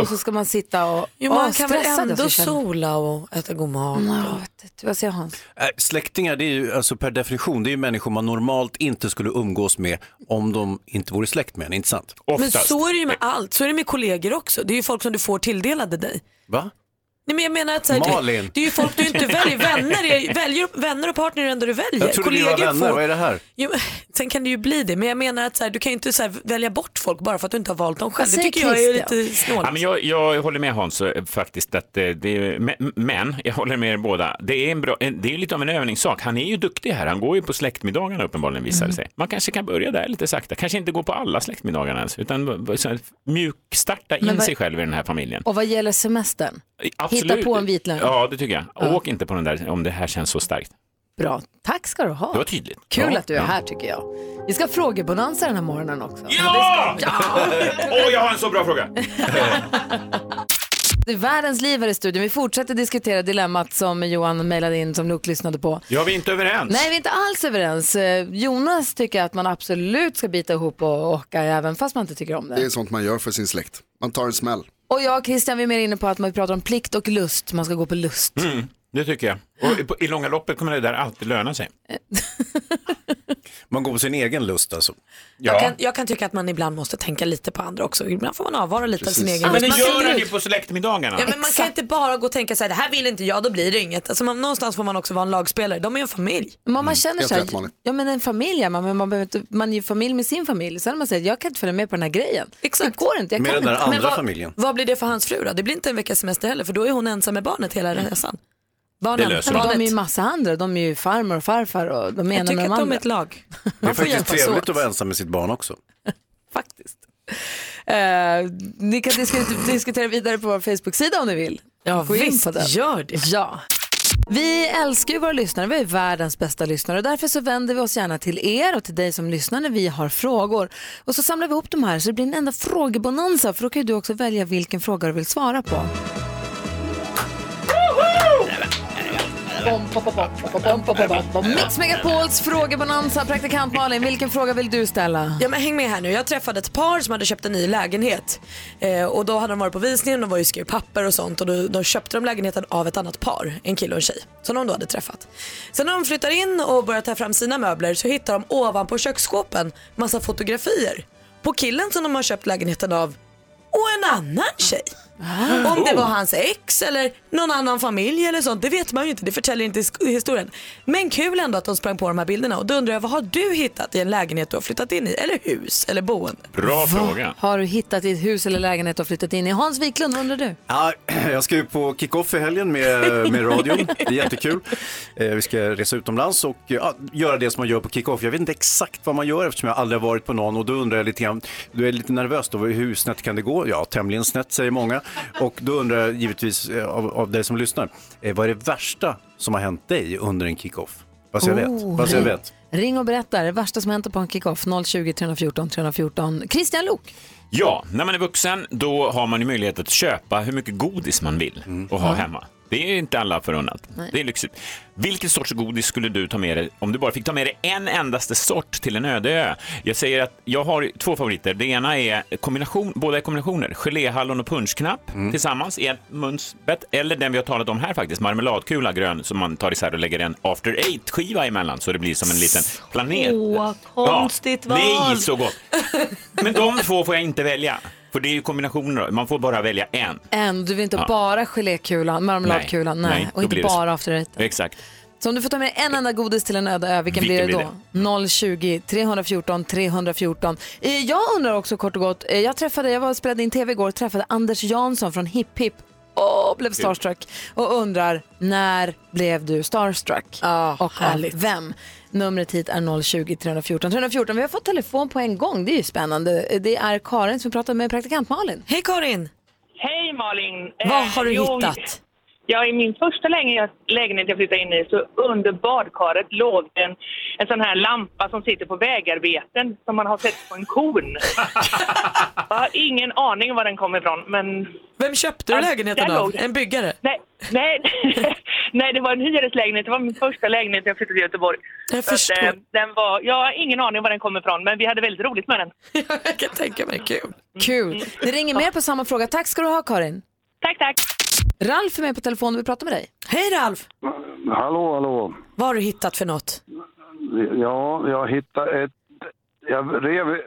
Och så ska man sitta och,
Jo, man
Åh,
kan väl
stressad alltså, Mm.
ändå
jag ska känna.
sola och äta god mat.
Ja, vet du, Vad säger Hans?
Äh, Släktingar, det är ju alltså per definition, det är ju människor man normalt inte skulle umgås med om de inte vore släkt med en, inte sant?
Men så är det ju med allt, så är det med kollegor också. Det är ju folk som du får tilldelade dig.
Va?
Nej, men jag menar att så här,
Malin.
Det, det är ju folk du inte
[LAUGHS]
väljer. Vänner, är, väljer, vänner och partner är det enda du väljer.
Jag trodde vi var vänner, vad är det här?
Jo, [LAUGHS] men, sen kan det ju bli det, men jag menar att så här, du kan ju inte så här, välja bort folk bara för att du inte har valt dem själv. Det tycker jag är lite snålt.
Ja, men jag, jag håller med Hans eh, faktiskt, att eh, det är, men- men jag håller med er båda. Det är, en bra, en- det är lite av en övningssak. Han är ju duktig här. Han går ju på släktmiddagarna uppenbarligen visar det
Mm.
sig. Man kanske kan börja där lite sakta. Kanske inte gå på alla släktmiddagarna ens, utan b- så här mjukstarta in
Men vad-
sig själv i den här familjen.
Och vad gäller semestern?
Eh, Absolut.
Hitta på en vit lögn.
Ja, det tycker jag. Åk inte på den där om det här känns så starkt.
Bra, tack ska du ha.
Det var tydligt.
Kul
Ja.
att du är här tycker jag. Vi ska ha frågebonanza den här morgonen också.
Ja! [LAUGHS] Åh, jag har en så bra fråga.
Det är världens liv här i studion. Vi fortsätter diskutera dilemmat som Johan mejlade in som Luke lyssnade på.
Ja, vi är inte överens.
Nej, vi är inte alls överens. Eh, Jonas tycker att man absolut ska bita ihop och åka även fast man inte tycker om
Det är
det.
sånt man gör för sin släkt. Man tar en smäll.
Och jag och Christian vi är mer inne på att man pratar om plikt och lust. Man ska gå på lust. [LAUGHS]
Mm, det tycker jag. Och i- på- i långa loppet kommer det där alltid löna sig.
Man går på sin egen lust alltså.
Jag, kan, jag kan tycka att man ibland måste tänka lite på andra också. Ibland får man avvara lite av sin egen
Ja, men det
Man
gör
slänger
han
ut.
ju på släktmiddagarna.
Ja, men man kan inte bara gå och tänka så här, det här vill inte jag, då blir det inget. Alltså, man, någonstans får man också vara en lagspelare. De är ju en familj.
Men
Mm,
om man känner så här, ja, men en familj är man, men man, behöver inte- man är ju familj med sin familj. Sen när man säger jag kan inte följa med på den här grejen. Exakt. Det går inte. Jag
Med
kan
den där
inte.
andra
vad-
familjen.
Vad blir det för hans fru då? Det blir inte en veckas semester heller, för då är hon ensam med barnet hela
Mm.
resan. Barnen,
Det löser de. de är ju massa andra. De är ju farmor och farfar och de
Jag
ena
tycker
med de
att de
andra.
är ett lag.
Det är
får
faktiskt
hjälpas
trevligt
åt.
att vara ensam med sitt barn också.
Eh, ni kan disk- diskutera vidare på vår Facebook-sida om ni vill. Ja,
visst, gör det.
Ja. Vi älskar ju våra lyssnare, vi är världens bästa lyssnare och därför så vänder vi oss gärna till er och till dig som lyssnar när vi har frågor. Och så samlar vi ihop de här så det blir en enda frågebonanza för då kan ju du också välja vilken fråga du vill svara på. Mix Megapols frågebonanza, praktikant Malin, vilken fråga vill du ställa?
Ja men häng med här nu. Jag träffade ett par som hade köpt en ny lägenhet. Eh, och då hade de varit på visningen, de var ju och skrev papper och sånt. Och då, då köpte de lägenheten av ett annat par, en kille och en tjej. Som de då hade träffat. Sen när de flyttar in och börjar ta fram sina möbler så hittar de ovanpå köksskåpen massa fotografier. På killen som de har köpt lägenheten av och en annan tjej. [GASPS] Om det var hans ex eller någon annan familj eller sånt, det vet man ju inte. Det förtäljer inte sk- historien. Men kul ändå att de sprang på de här bilderna. Och då undrar jag, vad har du hittat i en lägenhet du har flyttat in i? Eller hus eller boende?
Bra fråga.
Har du hittat ditt hus eller lägenhet och flyttat in i? Hans Wiklund, vad undrar du?
Ja, [CLEARS THROAT] jag ska ju på kick-off i helgen [LAUGHS] med, med radion. Det är jättekul. Eh, Vi ska resa utomlands och ja, göra det som man gör på kick-off. Jag vet inte exakt vad man gör eftersom jag aldrig har varit på någon och då undrar jag lite grann, du är lite nervös då, hur snett kan det gå? Ja, tämligen snett säger många. Och då undrar jag givetvis eh, av, av dig som lyssnar, eh, vad är det värsta som har hänt dig under en kick-off? Vad så jag vet.
Oh,
Vad så jag
ring-
vet.
Ring och berätta det värsta som hänt på en kickoff 020 314 314. Christian Lok.
Ja, när man är vuxen då har man ju möjlighet att köpa hur mycket godis man vill och ha hemma. Det är inte alla förunnat.
Nej.
Det är lyxigt. Vilken sorts godis skulle du ta med dig om du bara fick ta med dig en endaste sort till en öde ö? Jag säger att jag har två favoriter. Det ena är kombination, båda är kombinationer. Geléhallon och punschknapp tillsammans i ett munsbett. Eller den vi har talat om här faktiskt, marmeladkula grön som man tar isär och lägger en after eight-skiva emellan så det blir som en liten planet.
Åh, konstigt
ja.
val.
Nej, så gott. Men de två får jag inte välja. För det är ju kombinationer, då. man får bara välja en.
En, du vill inte
Ja.
bara gelékulan, marmeladkulan, nej.
Nej, nej,
och
då
inte
blir det så.
bara after eight.
Exakt.
Så om du får ta med en enda godis till en öde ö, vilken,
Vilken
blir det
blir
då? 020 314 314. Eh, Jag undrar också kort och gott, eh, jag träffade, jag var och spelade in tv igår och träffade Anders Jansson från Hipp Hipp och blev
Kul.
starstruck och undrar när blev du starstruck? och
härligt.
av vem? Numret hit är 020 314 314. Vi har fått telefon på en gång, det är ju spännande. Eh, Det är Karin som pratar med praktikant Malin.
Hej Karin!
Hej Malin!
Vad
Eh,
har du
jo,
hittat?
Ja, i min första lägenhet lägenhet jag flyttade in i så under badkaret låg en, en sån här lampa som sitter på vägarbeten som man har sett på en
[LAUGHS]
kon. jag har ingen aning var den kom ifrån men...
Vem köpte du lägenheten av? En byggare?
Nej, nej, [LAUGHS] nej, det var en hyreslägenhet. Det var min första lägenhet när jag flyttade till Göteborg.
Jag
Så att,
förstår.
[LAUGHS]
eh, den var, jag har ingen aning var den kom ifrån men vi hade väldigt roligt med den.
jag kan tänka mig,
Mm,
kul.
Kul. Det ringer mer på samma fråga. Tack ska du ha Karin.
Tack, tack.
Ralf är med på telefon och vill prata med dig.
Hej Ralf!
Hallå, hallå.
Vad har du hittat för något?
Ja, jag hittade ett... Jag rev...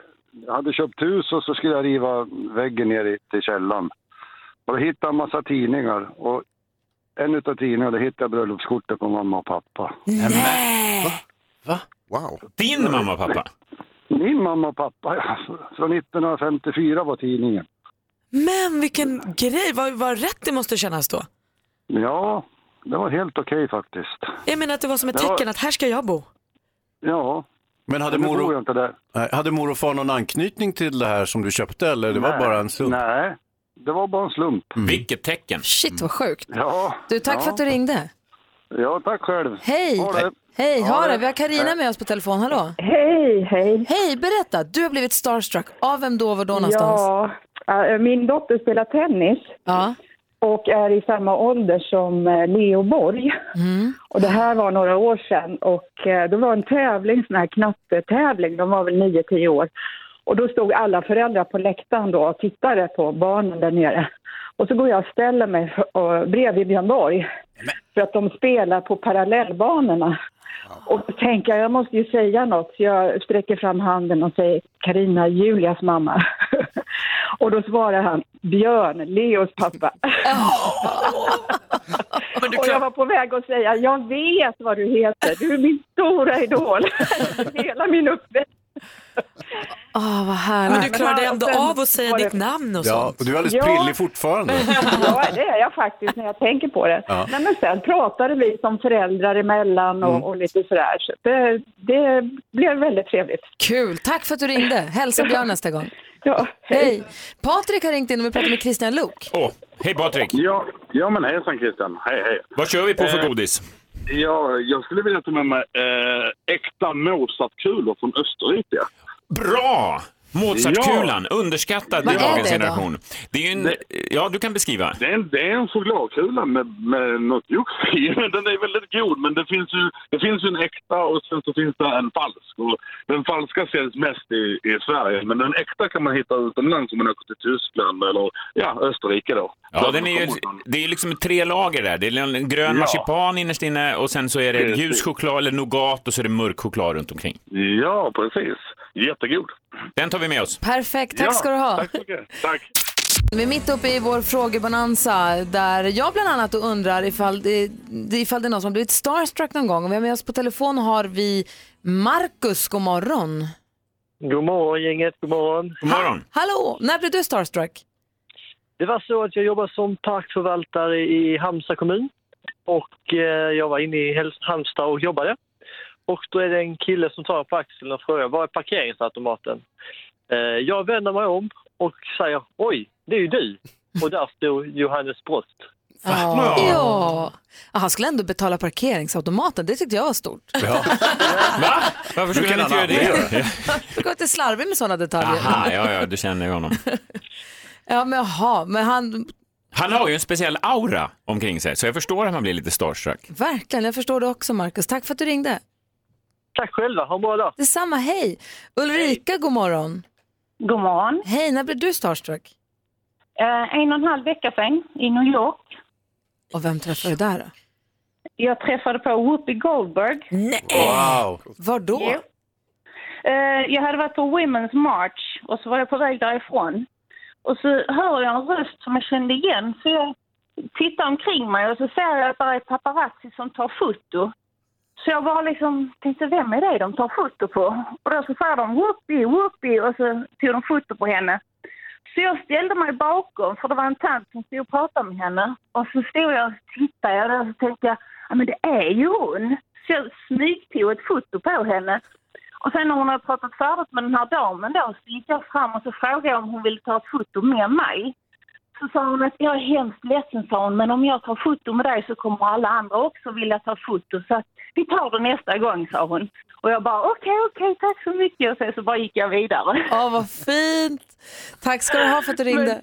Jag hade köpt hus och så skulle jag riva väggen ner i- till källaren. Och då hittade jag en massa tidningar. Och en utav tidningarna, där hittade jag bröllopskortet på mamma och pappa.
Nej! Va?
Wow.
Din mamma och pappa?
Min mamma och pappa, ja. Från 1954 var tidningen.
Men vilken grej, vad, vad rätt det måste kännas då.
Ja, det var helt okej faktiskt.
Jag menar att det var som ett
Det var-
tecken att här ska jag bo.
Ja.
Men hade
Nu
mor
bor
och,
jag inte där.
Nej, hade mor och far någon anknytning till det här som du köpte eller det var
Nej.
bara en slump? Mm.
Nej, det var bara en slump.
Vilket tecken.
Shit vad sjukt.
Ja.
Du, tack
ja.
för att du ringde.
Ja, tack själv.
Hej!
Ha det.
Hej, ha
Ha
det.
det.
Vi har Karina
Hej.
med oss på telefon. Hallå!
Hej, hej.
Hej, berätta. Du har blivit starstruck. Av vem då, var då någonstans?
Ja, eh, min dotter spelar tennis och är i samma ålder som eh, Leo Borg. Och det här var några år sedan och eh, det var en tävling, sån här knattetävling, de var väl 9-10 år. Och då stod alla föräldrar på läktaren då och tittade på barnen där nere. Och så går jag och ställer mig för- och- bredvid Björn Borg för att de spelar på parallellbanorna. Och då tänker jag, jag måste ju säga något. Så jag sträcker fram handen och säger Karina, Julias mamma. [LAUGHS] och då svarar han Björn, Leos pappa. [LAUGHS] och jag var på väg att säga, jag vet vad du heter. Du är min stora idol. [LAUGHS] Hela min uppväxt.
Åh, Ah, vad härligt.
Men du klarade ändå av att säga ditt namn och sånt.
och du är alldeles
Ja.
prillig fortfarande.
ja, det är jag faktiskt när jag tänker på det.
Ja.
Nej, men sen pratade vi som föräldrar emellan och,
Mm.
och lite sådär. Så det, det blev väldigt trevligt.
Kul, tack för att du ringde. Hälsa Björn nästa gång.
Ja,
hej. Patrik har ringt in och vill prata med Christian Lok.
Åh, hej Patrik!
Ja, ja men hejsan Christian. Hej, hej.
Vad kör vi på för
Eh,
godis?
Ja, jag skulle vilja ta med mig eh, äkta Mozartkulor från Österrike.
Bra! Mozartkulan, underskattad
Vad
i
är
dagens
det då?
generation. Det är ju en, ja, du kan beskriva.
Det är en, det är en chokladkula med, med något jox i. [LAUGHS] Den är väldigt god, men det finns, ju, det finns ju en äkta och sen så finns det en falsk. Och den falska säljs mest i, i Sverige, men den äkta kan man hitta utomlands om man åker till Tyskland eller ja, Österrike. Då.
Ja,
Där
den
man
är ju,
kommer ifrån.
det är liksom tre lager där. Det är en grön
Ja.
marsipan innerst inne och sen så är det
Precis.
ljus choklad eller nougat och så är det mörk choklad runt omkring.
[LAUGHS]
Ja, precis. Jättegod.
Den tar vi med oss.
Perfekt, tack ska du ha.
Tack så mycket. Tack.
Vi är mitt uppe i vår frågebonanza där jag bland annat undrar ifall det, det- ifall det är någon som har blivit starstruck någon gång. Och Vi har med oss på telefon har vi Marcus, god morgon.
God morgon gänget, god morgon.
God morgon.
Hallå, när blev du starstruck?
Det var så att jag jobbade som parkförvaltare i Halmstad kommun. Och eh, jag var inne i Häls- Halmstad och jobbade. Och då är det en kille som tar på axeln och frågar var är parkeringsautomaten? Eh, jag vänder mig om och säger oj, det är ju du. Och där stod Johannes Brost.
Ja. ja. Han skulle ändå betala parkeringsautomaten, det tyckte jag var stort.
Varför skulle han inte göra det?
Du går inte slarvig med sådana detaljer.
Aha, ja, ja, du känner ju honom.
Ja, men jaha, men han,
Han har ju en speciell aura omkring sig, så jag förstår att man blir lite starstruck.
verkligen, jag förstår det också Marcus. Tack för att du ringde.
Tack själva, ha en bra dag.
Detsamma, hej. Ulrika, god morgon.
God morgon.
Hej, när blev du starstruck?
Eh, en och en halv vecka sedan i New York.
Och vem träffade du där då?
Jag träffade på Whoopi Goldberg. Nej!
Wow. Var då?
Eh, jag hade varit på Women's March och så var jag på väg därifrån. Och så hör jag en röst som jag kände igen så jag tittar omkring mig och så ser jag att det är paparazzi som tar foto. Så jag bara liksom tänkte, vem är det de tar foto på? Och då så sa de whoopie, whoopie och så tog de foto på henne. Så jag ställde mig bakom, för det var en tant som stod och pratade med henne. Och så stod jag och tittade jag där och så tänkte jag, ja men det är ju hon. Så jag smygtog ett foto på henne. Och sen när hon hade pratat färdigt med den här damen då, så gick jag fram och så frågade jag om hon ville ta ett foto med mig. Så sa hon att jag är hemskt ledsen, sa hon, men om jag tar foto med dig så kommer alla andra också vilja ta foto. Så att vi tar det nästa gång, sa hon. Och jag bara okej, okej, tack så mycket. Och sen så bara gick jag vidare. [LAUGHS]
Ja, vad fint. Tack ska du ha för att du ringde.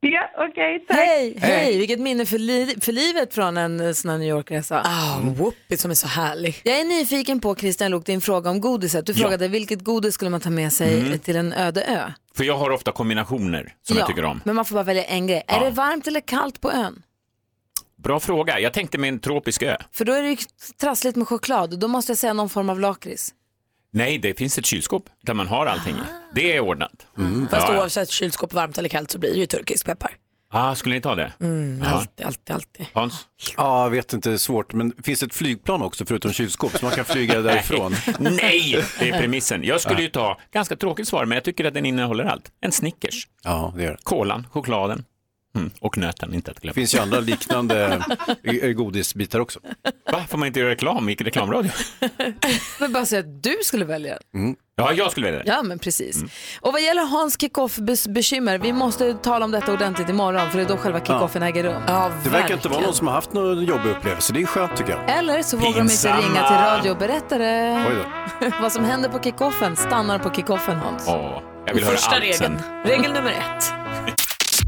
Ja, okej, tack.
Hej, hej, vilket minne för, li- för livet från en eh, sån här New York-resa.
Ah, whoopie som är så härlig.
Jag är nyfiken på, Christian Luuk, din fråga om godiset. Du
Ja.
frågade vilket godis skulle man ta med sig
Mm.
till en öde ö?
För jag har ofta kombinationer som jag tycker om.
Men man får bara välja en grej. Är
Ja.
det varmt eller kallt på ön?
Bra fråga. Jag tänkte med en tropisk ö.
För då är det ju trassligt med choklad. Då måste jag säga någon form av lakrits.
Nej, det finns ett kylskåp där man har allting i. Det är ordnat.
Mm, Fast
Ja, ja.
oavsett kylskåp varmt eller kallt så blir det ju turkisk peppar.
Ah, skulle ni ta det?
Mm,
Ja.
Alltid, alltid, alltid.
Hans?
Ja, jag vet inte, det är svårt. Men finns det ett flygplan också förutom kylskåp så man kan flyga därifrån?
Nej, det är premissen. Jag skulle ju ta, ganska tråkigt svar, men jag tycker att den innehåller allt. En Snickers.
Ja, det gör det.
Kolan, chokladen mm. och nöten, inte att glömma.
Det finns ju andra liknande eh, godisbitar också.
Va, får man inte göra reklam i reklamradio?
Men bara säga att du skulle välja den.
Ja, jag skulle välja det.
Ja, men precis. Och vad gäller Hans kickoff-bekymmer, vi måste tala om detta ordentligt imorgon, för det är då själva kickoffen äger rum. Ja,
Det verkar inte vara någon som har haft någon jobbig upplevelse. Det är skönt tycker jag.
Eller så vågar de inte
Pinsamma.
ringa till radio och berätta det.
Oj då.
Vad som händer på kickoffen stannar på kickoffen, Hans.
Ja, jag vill höra allt sen.
Regel nummer ett. [LAUGHS]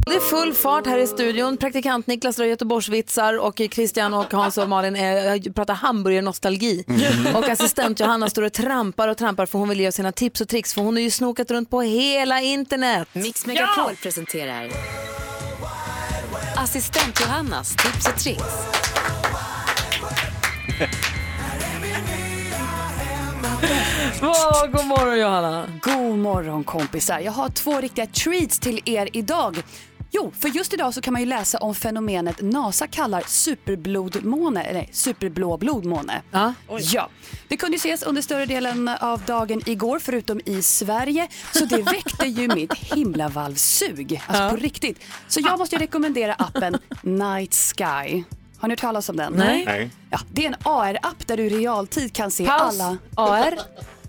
Det är full fart här i studion. Praktikant Niklas drar Göteborgsvitsar och Christian och Hans och Malin är, eh, pratar hamburgernostalgi.
Mm.
Mhm.
Och assistent Johanna står och trampar och trampar för hon vill ge oss sina tips och tricks för hon har ju snokat runt på hela internet.
Mix Megapol presenterar Assistent
[LAUGHS]
Johannas tips och tricks.
Wow, god morgon Johanna.
God morgon kompisar. Jag har två riktiga treats till er idag. Jo, för just idag så kan man ju läsa om fenomenet NASA kallar superblodmåne, eller superblå blodmåne. Ja. Det kunde ju ses under större delen av dagen igår, förutom i Sverige. Så det väckte
[LAUGHS]
ju mitt himlavalvsug, alltså på riktigt. Så jag måste ju rekommendera appen Night Sky. Har ni hört talas om den?
Nej.
Ja, det är en AR-app där du i realtid kan se
Paus.
alla...
AR?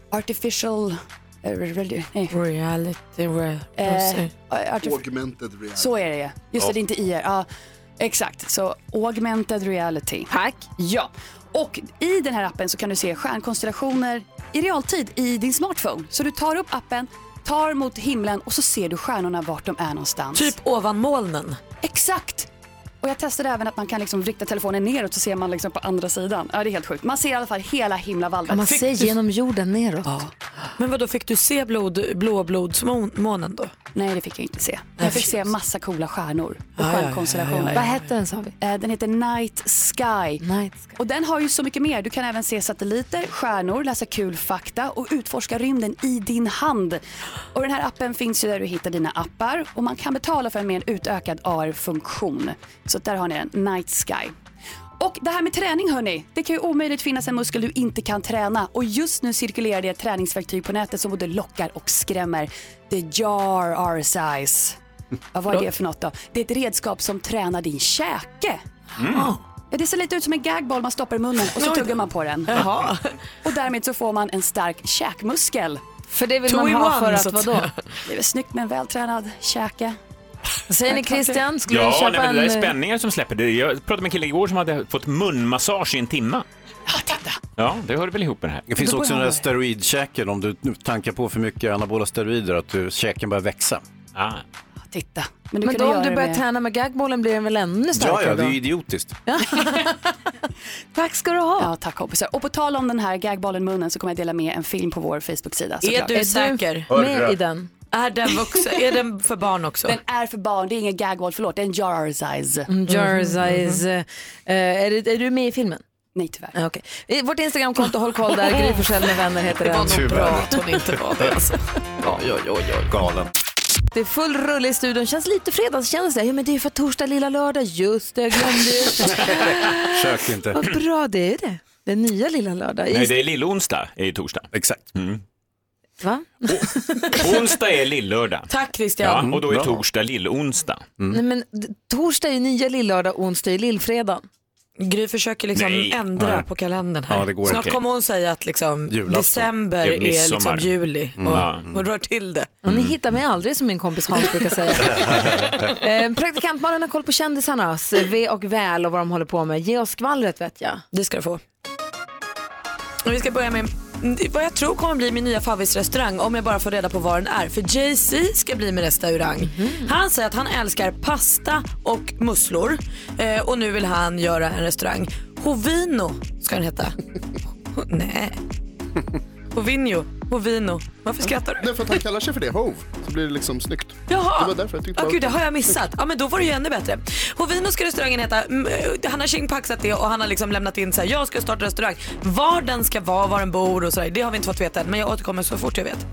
Artificial... eh, re- nej.
Reality...
Eh, artif-
Augmented reality.
så är det ju. Just
Ja.
det, det är inte IR. Ja, exakt, så augmented reality. Tack. Ja, och i den här appen så kan du se stjärnkonstellationer i realtid i din smartphone. Så du tar upp appen, tar mot himlen och så ser du stjärnorna vart de är någonstans.
Typ ovan molnen.
Exakt! Och jag testade även att man kan liksom rikta telefonen neråt så ser man liksom på andra sidan. Ja, det är helt sjukt. Man ser i alla fall hela himlavalvet.
Kan man se genom jorden neråt?
Men vad då fick du se blod, blåblodsmånen då?
Nej, det fick jag inte se. Jag fick se massa coola stjärnor och
Ja, ja, ja,
stjärnkonstellationer. eh,
ja, ja, ja. Vad
hette den sa vi?
Den heter Night Sky. Och den har ju så mycket mer. Du kan även se satelliter, stjärnor, läsa kul fakta och utforska rymden i din hand. Och den här appen finns ju där du hittar dina appar och man kan betala för en mer utökad AR-funktion. Så där har ni den, Night Sky. Och det här med träning hörni, det kan ju omöjligt finnas en muskel du inte kan träna och just nu cirkulerar det ett träningsverktyg på nätet som både lockar och skrämmer. The Jar R-Size. Ja, vad är det för något då? Det är ett redskap som tränar din käke.
Mm.
Ja, det ser lite ut som en gagboll man stoppar i munnen och så
Oj.
tuggar man på den.
Jaha.
Och därmed så får man en stark käkmuskel.
För det vill Two man in ha one, för att så att vadå? säga.
Det är väl snyggt med en vältränad käke.
[LAUGHS] Säger ni Christian, skulle du
Ja,
köpa
nej, men det där
en... eh,
är spänningar som släpper. Det- Jag pratade med en kille igår som hade fått munmassage i en timma. Ja, det hör väl ihop med det här.
Det finns också den där steroidkäken, om du tankar på för mycket anabola steroider, att du, käken börjar växa.
Ah.
Titta.
Men,
du kunde
då om
göra
du
det
börjar
med-
träna med gagbollen blir den väl ännu
Ja,
starkare
ja, det är
då?
ju idiotiskt.
Tack ska du ha. Ja, tack kompisar. Och på tal om den här gagballen munnen så kommer jag dela med en film på vår Facebook-sida.
Är
såklart.
du Är du säker? med Hörru. i den? [LAUGHS] Är den, vuxen, är den för barn också?
Den är för barn, det är ingen gagball, förlåt, det är en jar size.
Mm, Jar size.
Mm-hmm.
Eh, är, det- är du med i filmen?
Nej tyvärr.
Ah, okej. Eh, Vårt Instagramkonto, håll koll där. Gry Forssell med vänner heter den.
Oj, oj, oj, oj.
Galen.
Det är full rulle i studion. Känns lite fredagskänsla. Ja, men det är ju för att torsdag, lilla lördag. Just det, jag glömde ju.
Sök inte.
Vad bra det är det. Den nya lilla lördag.
Nej, det är lillonsdag i torsdag.
Exakt.
Mm.
Va?
Onsdag är lillördag.
Tack, Christian.
Ja, och då är
Bra.
torsdag lillonsdag.
Nej, men d- torsdag är ju nya lillördag, onsdag är lillfredag.
Gry försöker liksom
Nej.
ändra
Nej.
på kalendern här.
Ja, det går
Snart
inte.
kommer hon säga att liksom
Julafton.
december
Det
är
är midsommar.
liksom juli och
Mm. Ja.
hon rör till det.
Och
Mm.
ni hittar mig aldrig som min kompis Hans brukar
[LAUGHS]
säga. eh, Praktikantmannen har koll på kändisarna, V och väl och vad de håller på med. Ge oss skvallret vet jag.
Det ska du få. Och vi ska börja med vad jag tror kommer bli min nya favvisrestaurang om jag bara får reda på var den är. För Jay-Z ska bli min restaurang. Han säger att han älskar pasta och musslor eh, och nu vill han göra en restaurang. Hovino ska den
[LAUGHS]
heta. Ho- Nej. Hovinho. Hovino. Varför skrattar du?
Därför att han kallar sig för det, hov. Så blir det liksom snyggt.
Jaha!
Det var därför jag tyckte
Ah,
var-
gud, det har jag missat. Ja, men då var det ju ännu bättre. Hovino ska restaurangen heta. Mm, eh, Han har tjingpaxat det och han har liksom lämnat in så här, jag ska starta restaurang. Var den ska vara, var den bor och sådär, det har vi inte fått veta än. Men jag återkommer så fort jag vet.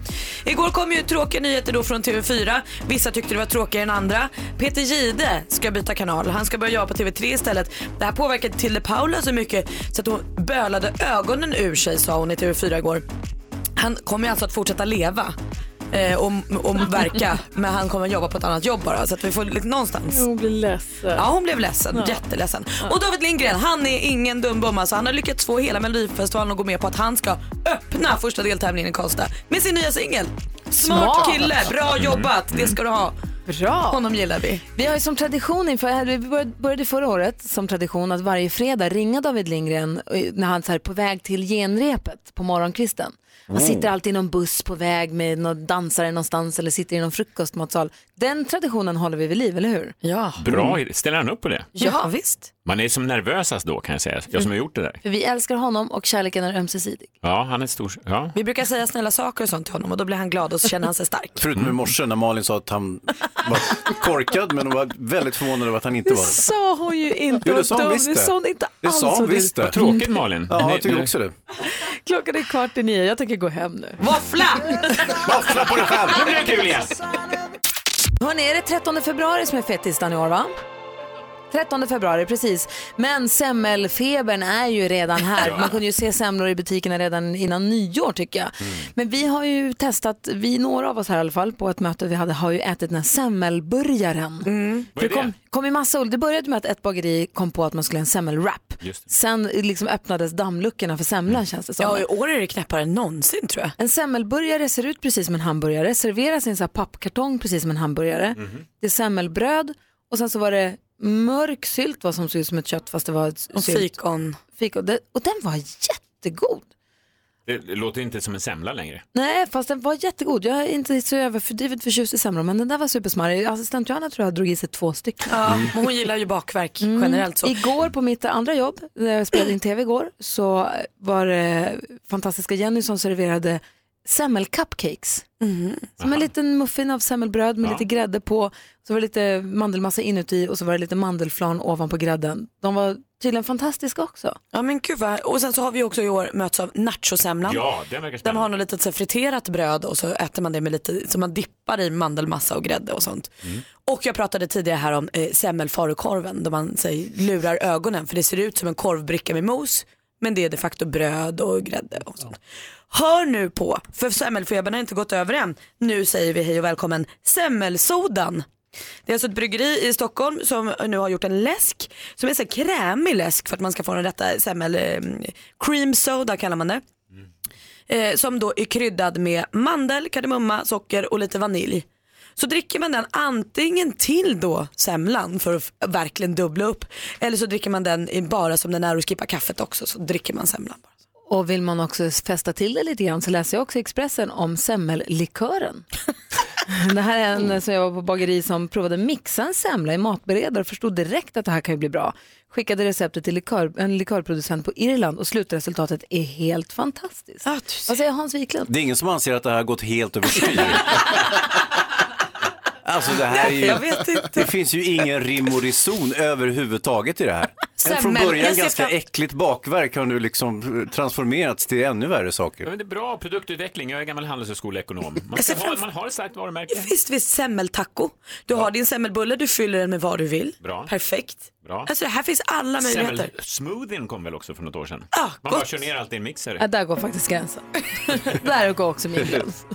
Igår kom ju tråkiga nyheter då från TV4. Vissa tyckte det var tråkigare än andra. Peter Gide ska byta kanal. Han ska börja jobba på TV3 istället. Det här påverkade Tilde Paula så mycket så att hon bölade ögonen ur sig sa hon i TV4 igår. Han kommer ju alltså att fortsätta leva eh, och, och
[LAUGHS]
verka men han kommer jobba på ett annat jobb bara så att vi får lite någonstans.
Hon blir ledsen.
Ja hon blev ledsen,
Ja.
jätteledsen. Och David Lindgren han är ingen dum bomma så han har lyckats få hela Melodifestivalen att gå med på att han ska öppna första deltävlingen i Karlstad med sin nya singel. Smart,
Smart.
kille, bra jobbat, det ska du ha.
Bra.
Honom gillar vi.
Vi har ju som tradition inför, eh, vi började- började förra året som tradition att varje fredag ringa David Lindgren eh, när han så här, är på väg till genrepet på morgonkvisten. Han
Mm.
sitter alltid i någon buss på väg med någon dansare någonstans eller sitter i någon frukostmatsal. Den traditionen håller vi vid liv, eller hur?
Ja.
Bra, idé. ställer han upp på det?
Mm. Ja, visst.
Man är som nervösast då kan jag säga, jag som har gjort det där.
För vi älskar honom och kärleken är ömsesidig.
Ja, han är stor.
Mm.
Ja.
Vi brukar säga snälla saker och sånt till honom och då blir han glad och så känner han sig stark.
Förutom i morse när Malin sa att han var korkad, men hon var väldigt förvånad över att han inte var det.
sa hon ju inte.
Jo, det sa hon visst det. Det sa hon visst det.
Vad tråkigt Malin.
Ja,
Nej,
jag tycker
nej.
också det.
Klockan är kvart i nio, jag tänker gå hem nu.
Våffla!
Våffla på dig själv, nu blir det kul igen.
Hörni, är det 13 februari som är fettisdagen i år va? 13 februari, precis. Men semmelfebern är ju redan
[LAUGHS]
här. Man kunde ju se semlor i butikerna redan innan nyår tycker jag.
Mm.
Men vi har ju testat, vi några av oss här i alla fall, på ett möte vi hade, har ju ätit den här semmelburgaren.
Mm.
Vad är
Det kom,
det?
kom i massa olika, det började med att ett bageri kom på att man skulle ha en semmelwrap. Sen liksom öppnades dammluckorna för semlan
Mm.
känns det som.
Ja, i år är det knäppare än någonsin tror jag.
En semmelburgare ser ut precis som en hamburgare, serveras i en sån här pappkartong precis som en hamburgare.
Mhm.
Det är semmelbröd och sen så var det mörk sylt vad som såg ut som ett kött fast det var ett
Och
sylt.
fikon.
fikon. Det, och den var jättegod.
Det låter inte som en semla längre.
Nej, fast den var jättegod. Jag är inte så överdrivet förtjust i semlor, men den där var supersmarrig. Assistent Johanna tror jag drog i sig två stycken.
Ja,
Mm.
men hon gillar ju bakverk
Mm.
generellt så.
Igår på mitt andra jobb, när jag spelade in tv igår, så var det fantastiska Jenny som serverade semmelcupcakes. Som en liten muffin av semmelbröd med
Mm. Ja.
lite grädde på, så var det lite mandelmassa inuti och så var det lite mandelflan ovanpå grädden. De var tydligen fantastiska också.
Ja men gud vad, och sen så har vi också i år mötts av nachosemlan.
Ja, den verkar
De
spännande.
har något litet så här friterat bröd och så äter man det med lite, så man dippar i mandelmassa och grädde och sånt.
Mm.
Och jag pratade tidigare här om eh, semmelfarukorven där man så här, lurar ögonen för det ser ut som en korvbricka med mos men det är de facto bröd och grädde och sånt. Hör nu på, för semmelfebern har inte gått över än. Nu säger vi hej och välkommen semmelsodan. Det är alltså ett bryggeri i Stockholm som nu har gjort en läsk som är så här krämig läsk för att man ska få den rätta semmel, eh, cream soda kallar man det. Eh, som då är kryddad med mandel, kardemumma, socker och lite vanilj. Så dricker man den antingen till då semlan för att f- verkligen dubbla upp eller så dricker man den i- bara som den är och skippar kaffet också så dricker man semlan. bara.
Och vill man också fästa till det lite grann så läser jag också i Expressen om semmellikören. [LAUGHS] det här är en som jag var på bageri som provade mixa en semla i matberedare och förstod direkt att det här kan ju bli bra. Skickade receptet till likör, en likörproducent på Irland och slutresultatet är helt fantastiskt. Vad säger Hans Wiklund?
Det är ingen som anser att det här har gått
[LAUGHS]
helt överstyr. Alltså det här är ju,
Jag vet inte.
det finns ju ingen rim och reson överhuvudtaget i det här. En från
Semmel.
början
Jag ser
ganska
fram-
äckligt bakverk har nu liksom transformerats till ännu värre
Ja,
saker.
men det är bra produktutveckling, jag är
[LAUGHS]
gammal handelshögskoleekonom. Man, ska ha, man har ett starkt varumärke.
Visst, visst semmeltaco. Du har din semmelbulle, du fyller den med vad du vill.
Bra.
Perfekt.
Bra.
Alltså det här finns alla möjligheter.
Semmelsmoothien kom väl också för något år sedan?
Ah,
man bara kör ner allt i en mixer.
Ja, där går faktiskt gränsen. [LAUGHS] där går också min gräns. [LAUGHS]